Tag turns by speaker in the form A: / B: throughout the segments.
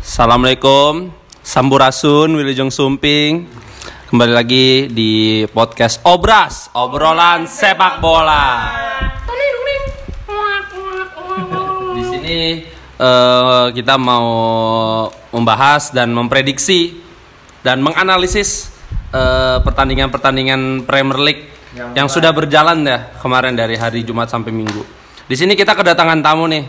A: Assalamualaikum, Sampurasun, Wilujeng Sumping. Kembali lagi di podcast Obras, obrolan sepak bola. Di sini eh, kita mau membahas dan memprediksi dan menganalisis eh, pertandingan-pertandingan Premier League yang, sudah berjalan ya kemarin dari hari Jumat sampai Minggu. Di sini kita kedatangan tamu nih.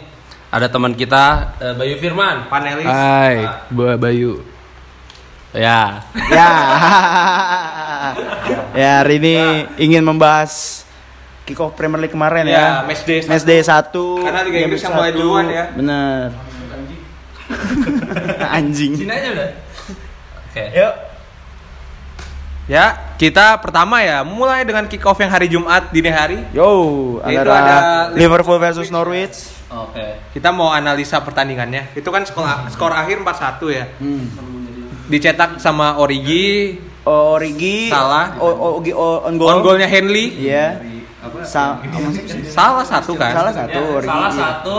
A: Ada teman kita eh, Bayu Firman.
B: panelis
C: Ah.
D: Hai, Ba- Bayu.
A: Ya.
C: ya ya hari ini ingin membahas kick off Premier League kemarin
B: Ya,
C: ya,
B: match day
C: match day satu
B: Karena Liga
C: game
B: Inggris
C: week
B: yang mulai
C: satu.
B: duluan ya.
C: bener anjing
A: aja udah. Oke.
C: yuk
B: ya kita pertama ya mulai dengan kick off yang hari Jumat dini hari
C: yo
B: Yaitu
C: antara
B: ada
C: Liverpool versus Norwich
A: Oke.
B: kita mau analisa pertandingannya itu kan
C: Hmm.
B: skor, skor akhir 4-1 ya dicetak sama Origi
C: Origi
B: Salah.
C: O- Origi o- on goal
B: on golnya Henley
C: iya Sa-
B: salah satu kan
C: salah satu Origi
A: Ya, Salah satu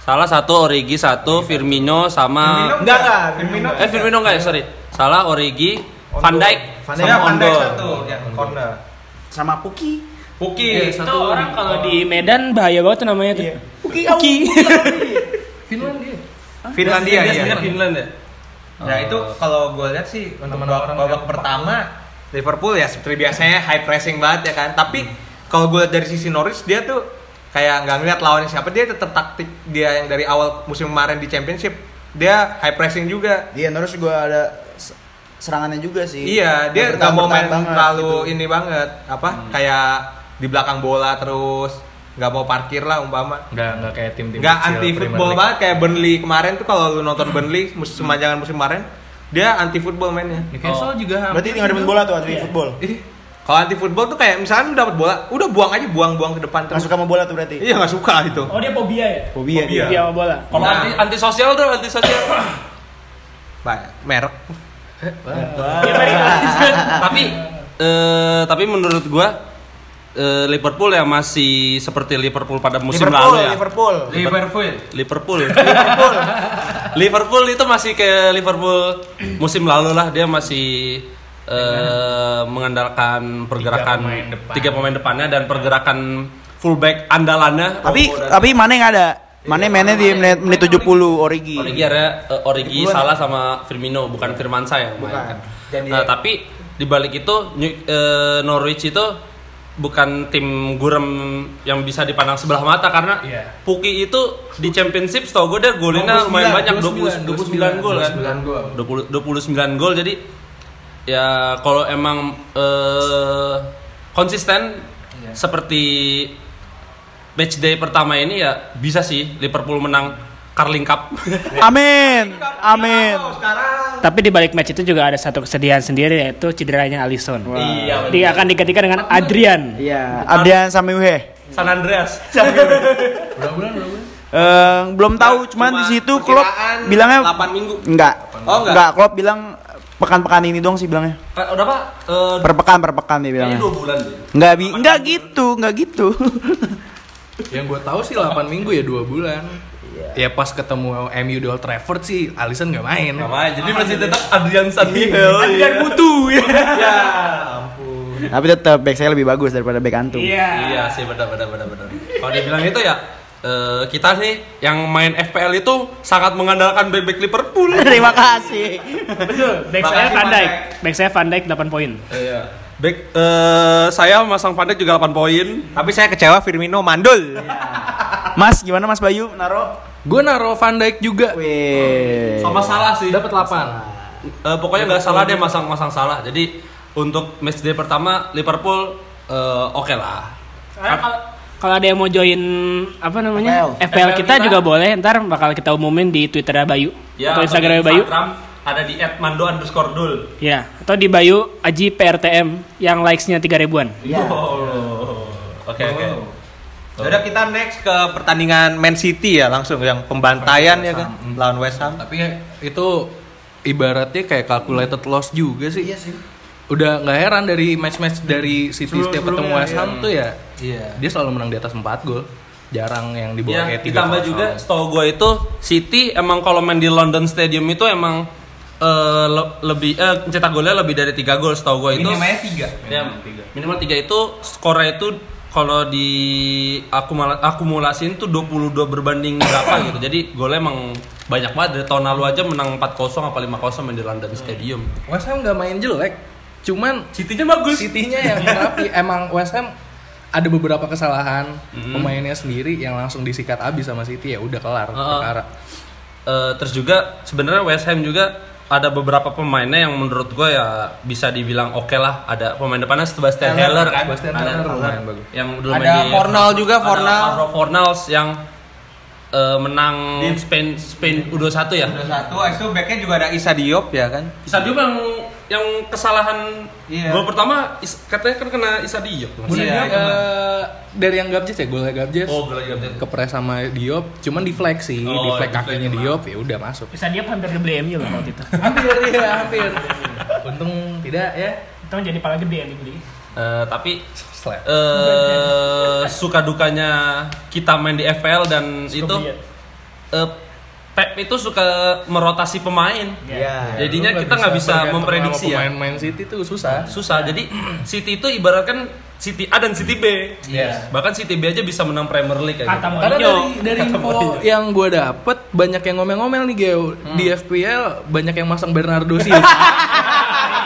A: Salah satu Origi satu Firmino sama
B: enggak enggak Firmino
A: Eh Firmino enggak ya sorry Salah Origi Van Dijk
B: ya,
A: sama
B: Van
A: Ondo
B: Dijk satu ya Iya, corner
C: sama Puki
B: Puki
E: Iya,
A: Iya,
E: itu orang kalau di Medan bahaya banget tuh namanya
B: Iya.
E: tuh.
C: Puki
E: Puki.
B: Finlandia ya
A: Finland ya
B: nah itu kalau gue lihat sih untuk babak, babak pertama Liverpool ya seperti biasanya high pressing banget ya kan tapi kalau gue lihat dari sisi Norwich dia tuh kayak nggak ngeliat lawannya siapa dia tetap taktik dia yang dari awal musim kemarin di Championship dia high pressing juga
C: iya terus gue ada s- serangannya juga sih
B: iya dia nggak
C: Bertahan-
B: mau main
C: bertahan banget
B: terlalu
C: gitu.
B: ini banget apa kayak di belakang bola terus nggak mau parkir lah umpama
D: Enggak, enggak kayak tim-tim
B: nggak
D: kecil
B: anti
D: Premier
B: football
D: League.
B: banget kayak Burnley kemarin tuh kalau lu nonton Burnley musim semanjangan musim kemarin dia anti football mainnya
D: Newcastle juga
C: berarti tinggal main bola tuh
B: Iya.
C: atlet football
B: Ih, kalau anti football tuh kayak misalkan lu dapat bola udah buang aja buang-buang ke depan
C: nggak
B: terus
C: suka sama bola tuh berarti
B: iya nggak suka itu
E: Oh dia fobia ya?
C: fobia
B: Fobia.
C: dia
E: Fobia sama bola.
A: Kalau
B: Nah.
A: anti antisosial tuh antisosial
B: banyak merek
E: Dia paling
A: Tapi eh, Tapi menurut gua eh, Liverpool yang masih seperti Liverpool pada musim
C: Liverpool
A: lalu ya
C: Liverpool
A: Liverpool. Liverpool. Liverpool. Liverpool itu masih ke Liverpool musim lalu lah dia masih eh, mengandalkan pergerakan tiga pemain, depannya dan pergerakan fullback andalannya.
C: tapi tapi mana yang ada mana
B: Iya.
C: mainnya di menit menit 70 Origi
A: Origi ada eh, Origi salah sama Firmino bukan Firmansyah yang main. Nah, tapi di balik itu New- eh, Norwich itu bukan tim gurem yang bisa dipandang sebelah mata karena
D: Iya.
A: Puki itu di championship setahu gue dia golinnya lumayan banyak 20, 29 gol kan 20 29 gol jadi ya kalau emang eh, konsisten Iya. seperti match day pertama ini ya bisa sih Liverpool menang Carling Cup
C: amin amin
B: Iya.
E: Tapi di balik match itu juga ada satu kesedihan sendiri yaitu cederanya Alisson.
A: Iya.
E: Dia akan digantikan dengan Adrian.
C: iya Abdian Samiuhe
A: San Andreas.
C: Eh, belum tahu
B: Iya,
C: cuman di situ Klopp bilangnya
B: 8 minggu
C: enggak
B: Oh, enggak.
C: Klopp bilang pekan-pekan ini doang sih bilangnya
A: Eh, udah pak? Eh,
C: per pekan per pekan dia
A: ini
C: bilangnya
A: dua bulan deh.
C: enggak bi enggak gitu enggak gitu
D: Yang gue tahu sih 8 minggu ya 2 bulan. Ya pas ketemu MU di Old Trafford sih Alisson nggak main.
A: Sama, jadi masih tetap Adrian San Miguel. Iya. Adrian iya.
D: Mutu ya.
C: tapi tetap back saya lebih bagus daripada back antum
A: Iya sih, benar benar benar benar. Kalau dia bilang itu ya, eh, kita nih yang main FPL itu sangat mengandalkan bebek Liverpool.
C: terima kasih
E: Betul. Back saya
B: Makasih,
E: Van
B: Van
E: Dijk.
B: Dijk.
E: Back saya Van Dijk 8 poin.
A: Iya. Back eh, saya masang Van Dijk juga 8 poin.
B: tapi saya kecewa Firmino mandul
C: Mas gimana Mas Bayu naro
D: Gue naro Van Dijk juga.
C: Wih.
A: Sama salah sih.
D: Dapat 8.
A: Eh, pokoknya nggak salah deh masang-masang salah. Jadi untuk match day pertama Liverpool eh, oke lah.
E: Kalau ada yang mau join apa namanya
C: FPL.
E: FPL, kita,
A: kita. Ya,
E: juga boleh ntar bakal kita umumin di Twitter ya, Bayu atau Instagram Bayu.
A: ada di @mando underscore dul.
E: Ya, atau di Bayu Aji PRTM yang likes-nya 3000 ribuan.
A: Oke oke.
B: Ya udah kita next ke pertandingan Man City ya langsung yang pembantaian ya kan lawan West Ham
D: Tapi itu ibaratnya kayak calculated loss juga Iya sih. Udah nggak heran dari match-match dari City setiap ketemu West Ham tuh ya. Dia selalu menang di atas 4 gol. jarang Iya. yang di
A: Ya,
D: bawah E kayak 3
A: ditambah juga setahu gue itu City emang kalau main di London Stadium itu emang eh, le- lebih eh, cetak golnya lebih dari 3 gol setahu gue itu.
B: Minimalnya tiga.
A: Ya, minimal 3 itu skornya itu kalau di akumula- akumulasiin tuh 22 berbanding berapa gitu. Jadi golnya emang banyak banget dari tahun lalu aja menang 4-0 apa 5-0 main di London Stadium.
D: West Ham nggak main jelek, cuman
A: City-nya bagus.
D: City-nya yang rapi. Emang West Ham ada beberapa kesalahan
A: Hmm.
D: pemainnya sendiri yang langsung disikat abis sama City ya udah kelar
A: Heeh.
D: perkara.
A: Eh, terus juga sebenarnya West Ham juga ada beberapa pemainnya yang menurut gue ya bisa dibilang oke lah ada pemain depannya Sebastian Heller, kan
D: Sebastian
A: Ada-
D: Heller lumayan bagus.
A: yang dulu
B: Ada
A: main di-
B: Fornal juga,
A: ada
B: Fornal.
A: Alvaro Fornals yang eh, menang Spain Spain U21 ya
B: Ada satu, habis itu backnya juga ada Isa Diop ya kan?
A: Isadio yang yang kesalahan
B: Iya.
A: gol pertama is- katanya kan kena Isadio
D: Bulan
B: Iya,
D: Diop,
B: iya.
D: eh, dari yang Gabjes ya golnya Gabjes.
A: oh gila gila gila.
D: Kepres sama Diop, cuman di flag sih,
A: Oh,
D: di
A: di flag
D: flag kakinya
A: emang.
D: Diop ya udah masuk.
E: Bisa dia hampir dibeli MU loh waktu itu.
D: hampir ya,
A: iya,
D: hampir. Untung tidak ya.
E: Itu jadi paling gede yang dibeli.
A: Eh, tapi
D: Slap.
A: eh suka dukanya kita main di FPL dan itu
E: beli ya.
A: eh, Pep itu suka merotasi pemain.
B: Iya.
A: Jadinya
D: Lu
A: kita nggak bisa
D: bergantung
A: memprediksi
D: sama
A: ya.
D: Pemain-pemain City tuh susah.
A: Susah. Jadi City itu ibaratkan City A dan City B.
B: Iya.
A: Bahkan City B aja bisa menang Premier League kayak
E: Kata
A: gitu.
D: Karena dari,
E: Mourinho.
D: dari
A: iya.
D: info yang gue dapet banyak yang ngomel-ngomel nih Geo di
A: Hmm.
D: FPL banyak yang masang Bernardo Silva.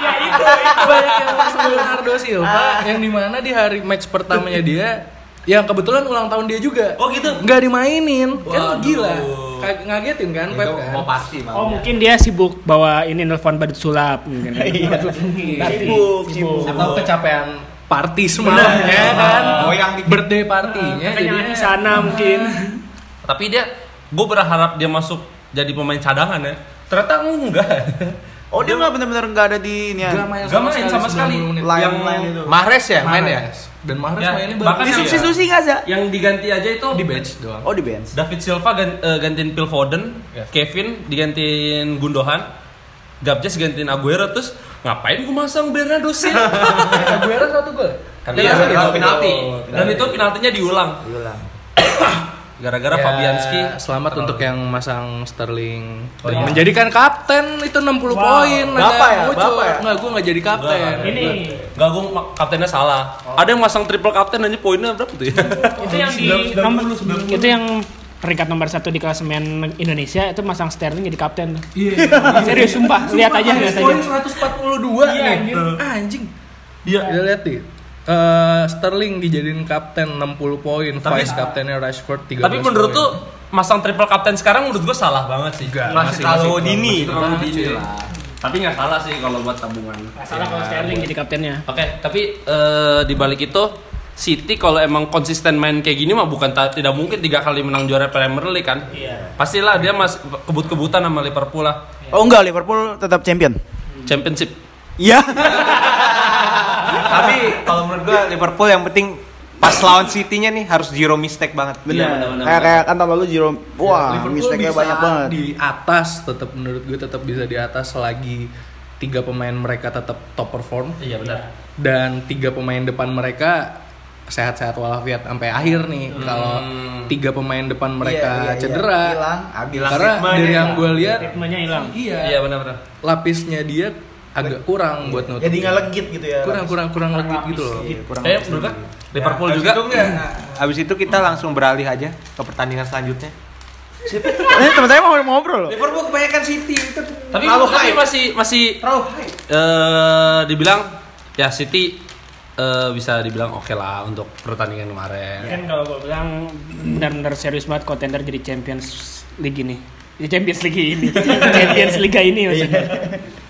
E: Ya itu.
D: banyak yang masang Bernardo Silva yang dimana di hari match pertamanya dia yang kebetulan ulang tahun dia juga.
A: Oh, gitu?
D: Nggak dimainin.
A: Waduh.
D: Kan gila. Ka- ngagetin kan Pep
B: Itu
D: kan.
B: mau pasti bang.
E: Oh mungkin dia sibuk bawa ini nelfon badut sulap mungkin. kan.
D: Sibuk, sibuk. Atau kecapean party semalam
B: Bener.
D: ya kan.
B: Oh, yang di-
D: birthday partinya
E: Makanya
D: jadi
E: di sana mungkin.
A: Tapi dia, gue berharap dia masuk jadi pemain cadangan ya. Ternyata enggak.
C: Oh dia nggak benar-benar nggak ada di ini ya.
D: Gak main
A: Gak main sama sekali.
D: 90 menit.
C: Lain-
A: Yang
C: lain itu.
B: Mahrez ya main ya?
D: Mahrez. Dan Mahrez
A: Ya,
D: mainnya
A: bahkan
D: bagus.
C: Di substitusi nggak sih?
A: yang diganti aja itu
D: di bench doang.
C: Oh di bench.
A: David Silva gan- eh, gantiin Phil Foden,
D: Yes.
A: Kevin digantiin Gundogan, Gabjes gantiin Aguero terus ngapain gue masang Bernardo Silva?
D: Aguero satu gol.
A: Tapi
B: Iya,
A: langsung
B: penalti.
A: itu
B: Penalti.
A: Dan itu penaltinya diulang. Gara-gara Nah, Fabianski.
D: Ya, selamat untuk yang masang Sterling dan menjadikan kapten itu 60
E: Wow.
D: poin.
C: Bapak ya, bapak ya?
D: Enggak, gua enggak jadi kapten.
E: Ini
A: Gak, gue ma- kaptennya salah. Ada yang masang triple kapten aja poinnya berapa tuh ya?
E: itu yang di nomor itu yang peringkat nomor satu di klasemen Indonesia itu masang Sterling jadi kapten. Iya. Serius sumpah, lihat aja lihat aja.
D: Poin 142
E: Iya,
D: nih.
E: anjir.
D: Ah, Anjing. Iya, lihat nih. Eh, Sterling dijadiin kapten 60 poin,
A: Tapi-
D: vice kaptennya Rashford 13
A: Tapi menurut
D: poin.
A: tuh masang triple kapten sekarang menurut gue salah banget sih.
D: Enggak,
B: Masih terlalu
D: masih-
B: dini.
D: masih terlalu dini.
A: Tapi nggak salah sih kalau buat tabungan.
E: Nggak salah kalau Sterling jadi kaptennya.
A: Oke, tapi eh, di balik itu City kalau emang konsisten main kayak gini mah bukan ta- tidak mungkin tiga kali menang juara Premier League kan?
E: Iya.
A: Pastilah dia mas kebut-kebutan sama Liverpool lah.
C: Oh enggak Liverpool tetap champion.
A: Championship.
C: Iya.
B: Tapi kalau menurut gua Liverpool yang penting pas lawan City-nya nih harus zero mistake banget.
A: Iya,
C: benar.
A: benar-benar.
C: Kayak kayak kan tahun lalu Jerome. Wah,
D: Liverpool
C: mistake-nya
D: bisa
C: banyak banget.
D: Di atas tetap menurut gue tetap bisa di atas selagi tiga pemain mereka tetap top perform
A: Iya benar.
D: dan tiga pemain depan mereka sehat-sehat walafiat sampai akhir nih. Kalau tiga pemain depan mereka
C: Iya, iya, iya.
D: cedera,
C: Hilang, habis.
D: karena
B: ritmenya
D: dari yang
B: hilang.
D: gue lihat,
E: Ritmenya hilang.
D: iya,
A: Iya benar-benar.
D: lapisnya dia agak kurang buat nutup.
C: Jadi nggak legit gitu ya.
D: kurang kurang kurang legit gitu loh.
C: Iya, kurang.
A: Eh menurut gua, Liverpool
B: Ya,
A: juga.
B: gitu.
A: Hmm.
B: Habis itu kita langsung beralih aja ke pertandingan selanjutnya.
C: Ini teman saya Eh, mau ngobrol loh.
B: Liverpool kebanyakan City itu
A: Tapi, tapi masih masih
B: terlalu high.
A: eh, dibilang ya City eh, bisa dibilang oke lah untuk pertandingan kemarin.
E: Kan kalau gue bilang benar-benar serius banget kontender jadi Champions League ini. Di Champions League ini. Champions Liga ini maksudnya.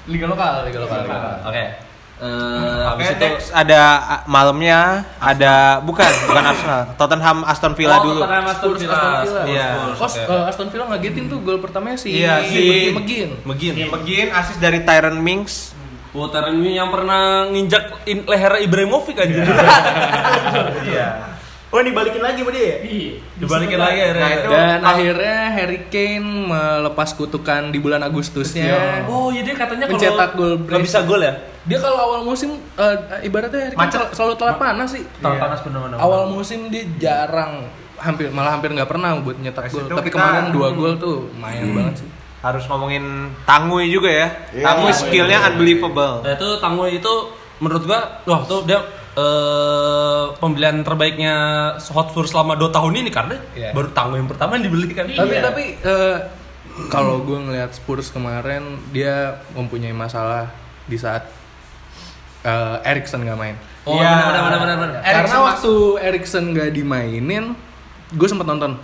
D: Liga lokal, liga lokal. Liga lokal.
A: Oke. Gitu Eh,
B: Oke,
A: habis itu
B: next ada ah, malamnya ada bukan bukan Arsenal, Tottenham Oh, Aston Villa
A: Oh,
B: dulu.
A: Tottenham Aston
D: Spurs,
A: Villa.
D: Aston Villa.
A: Spurs,
B: Iya.
A: Spurs,
D: Oh,
A: oke.
D: eh, Aston Villa ngagetin tuh gol pertamanya si
B: Iya, si-
D: McGinn.
A: Begin.
B: Begin asis dari Tyron Mings.
A: Wataran Oh, yang pernah nginjak in- leher Ibrahimovic anjir.
B: Iya.
C: Oh, dibalikin lagi sama dia ya?
A: Iya, Dibalikin lagi ya.
B: Nah, itu-
D: Dan
B: Ah.
D: akhirnya Harry Kane melepas kutukan di bulan Agustusnya.
A: Oh, iya dia katanya kalau
D: Mencetak gol
A: nggak bisa gol ya?
D: Dia kalau awal musim eh, ibaratnya Harry Kane
B: Macet.
D: sel- selalu telat panas sih.
B: Telat
A: Iya.
F: panas bener-bener.
D: Iya. Awal musim dia jarang hampir malah hampir nggak pernah buat nyetak
B: Nah,
D: gol.
B: situ
D: Tapi
B: kita- Hmm.
D: kemarin dua gol tuh lumayan banget sih.
B: Harus ngomongin Tangui juga ya.
C: Iya,
B: Tangui
C: Tangui.
B: skillnya unbelievable.
A: Nah, itu Tanggul itu menurut gua wah tuh dia eh, pembelian terbaiknya Hotspur selama 2 tahun ini karena
D: Iya.
A: baru Tanggul yang pertama yang dibeli
B: Iya.
A: kan.
D: Tapi tapi eh, kalau gue ngelihat Spurs kemarin dia mempunyai masalah di saat eh, Erikson nggak main.
A: Oh,
B: Iya.
A: benar benar benar benar.
D: Karena waktu Erikson nggak dimainin, gue sempet nonton.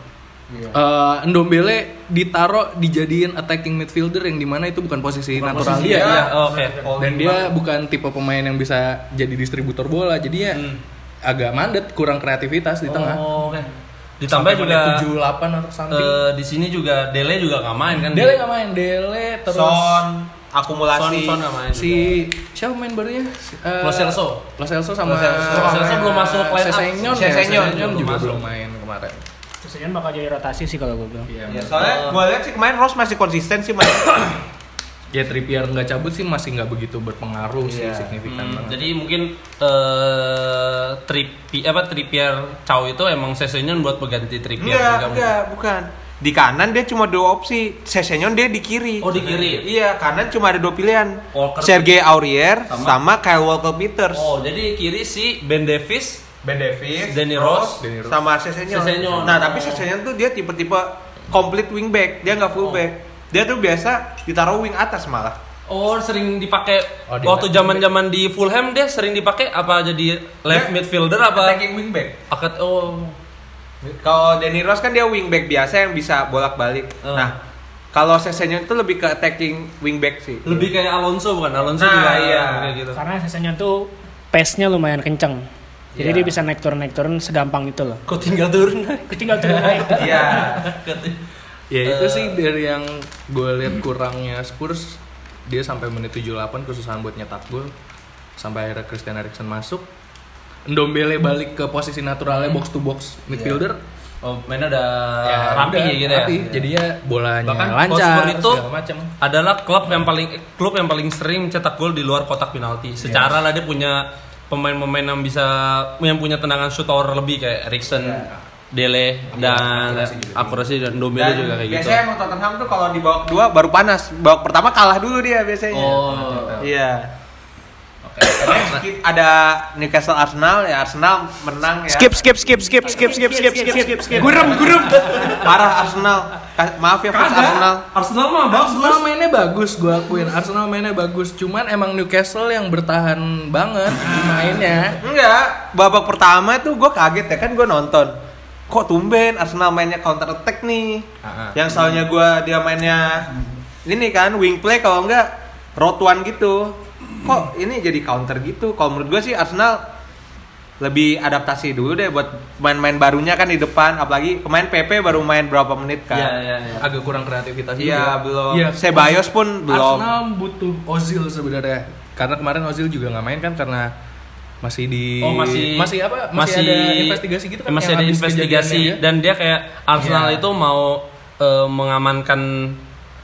B: Iya.
D: Eh, Ndombele ditaro dijadiin attacking midfielder yang dimana itu bukan posisi natural
B: posisi
D: dia.
B: dia.
A: Iya, oke.
D: Dan dia bukan tipe pemain yang bisa jadi distributor bola, jadi ya agak mandet, kurang kreativitas di tengah.
A: Hmm. Oh, oke. Ditambah juga
D: tujuh delapan atau something.
A: eh, di sini juga Dele juga nggak main kan.
D: Dele nggak main, Dele terus
B: Son
A: Son
B: akumulasi.
A: Son nggak main.
D: si siapa main barunya? Si, eh,
A: Lo Celso.
D: Lo Celso sama
A: Lo Celso. Lo Celso belum masuk line up.
D: Sesenyon, ya,
B: Sesenyon
D: Sesenyon
A: belum
D: juga
A: masuk.
D: belum main kemarin. Iya.
E: Sesenyon bakal jadi rotasi sih kalau gue bilang.
B: Ya, soalnya gue lihat sih kemarin Ross masih konsisten sih Iya, main.
D: Ya Trippier nggak cabut sih masih nggak begitu berpengaruh sih signifikan
A: Hmm,
D: banget.
A: jadi mungkin eh Trippi apa Trippier Chow itu emang sesinya buat pengganti Trippier
B: Enggak,
A: juga.
B: enggak, bukan. Di kanan dia cuma dua opsi. Sesenyon dia di kiri.
A: Oh, di kiri.
B: Iya, kanan cuma ada dua pilihan.
A: Walker-
B: Sergei Aurier
A: Sama?
B: sama, Kyle Walker Peters.
A: Oh, jadi kiri si Ben Davis,
B: Ben Davis,
A: Danny Rose,
D: Danny Rose.
B: sama Sesenyon.
A: Sesenyon.
B: Nah, tapi Sesenyon tuh dia tipe-tipe complete wingback, dia nggak fullback. Dia tuh biasa ditaruh wing atas malah.
A: Oh, sering dipakai
D: Oh, dia
A: waktu
D: left
A: zaman-zaman di Fulham dia sering dipakai apa jadi left
B: Dia
A: midfielder apa?
B: Attacking wingback.
A: Akat oh.
B: Kalau Danny Rose kan dia wingback biasa yang bisa bolak-balik.
A: Eh.
B: Nah, kalau Sesenyon tuh lebih ke attacking wingback sih.
D: Iya.
A: Lebih kayak Alonso bukan? Alonso
B: Nah,
A: juga
B: iya.
A: kayak gitu.
E: Karena Sesenyon tuh pace-nya lumayan kenceng. Jadi
B: Iya.
E: dia bisa naik turun naik turun segampang itu loh.
A: Kok tinggal turun?
D: Nah.
E: Ketinggal turun naik.
B: Iya.
D: Ya itu sih dari yang gue lihat kurangnya Spurs dia sampai menit 78 kesusahan buat nyetak gol sampai akhirnya Christian Eriksen masuk Ndombele balik ke posisi naturalnya box to box midfielder
A: oh, mainnya udah
D: ya,
A: rapi
D: udah,
A: ya gitu ya.
D: rapi. jadinya bolanya
A: Bahkan
D: lancar
A: Hotspur itu
D: segala macam
A: adalah klub yang paling klub yang paling sering cetak gol di luar kotak
D: Iya.
A: penalti. Secara lah dia punya pemain-pemain yang bisa yang punya tendangan shoot tower lebih kayak Erikson,
D: Iya.
A: Dele dan akurasi dan Dombele juga kayak gitu.
B: biasanya emang Tottenham tuh kalau di babak kedua baru panas. Babak pertama kalah dulu dia biasanya.
A: Oh.
B: Iya. Skip ada Newcastle Arsenal ya Arsenal menang ya.
C: Skip skip skip skip skip skip skip skip skip skip.
B: Gurem gurem. Parah Arsenal. Ka- Maaf ya fans Arsenal.
A: Arsenal mah
D: Arsenal mainnya bagus gue akuin Arsenal mainnya bagus cuman emang Newcastle yang bertahan banget mainnya
B: Enggak, babak pertama tuh gue kaget ya kan gue nonton. Kok tumben Arsenal mainnya counter attack nih. Yang soalnya gue dia mainnya ini kan wing play kalau enggak road one gitu. Kok ini jadi counter gitu? Kalau menurut gue sih Arsenal lebih adaptasi dulu deh buat main-main barunya kan di depan apalagi kemarin PP baru main berapa menit kan.
A: Iya,
B: Iya,
A: iya, iya.
D: agak kurang kreativitas juga.
B: belum.
D: Iya.
B: Sebayos pun belum.
D: Arsenal butuh Ozil sebenarnya karena kemarin Ozil juga nggak main kan karena masih di
A: Oh masih
D: apa masih, ada investigasi gitu kan
A: masih
D: yang
A: ada
D: habis ya?
A: investigasi
D: kejadiannya dia.
A: dan dia kayak Arsenal itu mau eh, mengamankan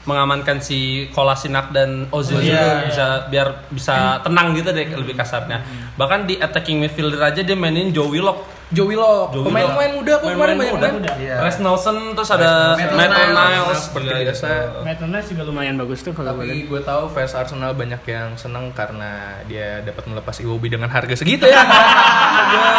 A: mengamankan si Kolasinac dan Ozil
B: Ozil,
A: juga
B: iya.
A: bisa biar bisa tenang gitu deh lebih kasarnya. Bahkan di attacking midfielder aja dia mainin Joe Willock.
D: Joe Willock
A: Joe
D: pemain-pemain
A: Willock.
D: muda kok kemarin
A: Pemain-pemain
D: banyak
A: muda.
D: banget
B: Iya.
A: Reece Nelson terus ada Matt Niles
D: seperti
A: juga
D: biasa
A: gitu.
E: Maitland juga lumayan bagus tuh kalau
D: tapi
E: gue lihat.
D: gue tahu fans Arsenal banyak yang seneng karena dia dapat melepas Iwobi dengan harga segitu
A: Iya.
D: ya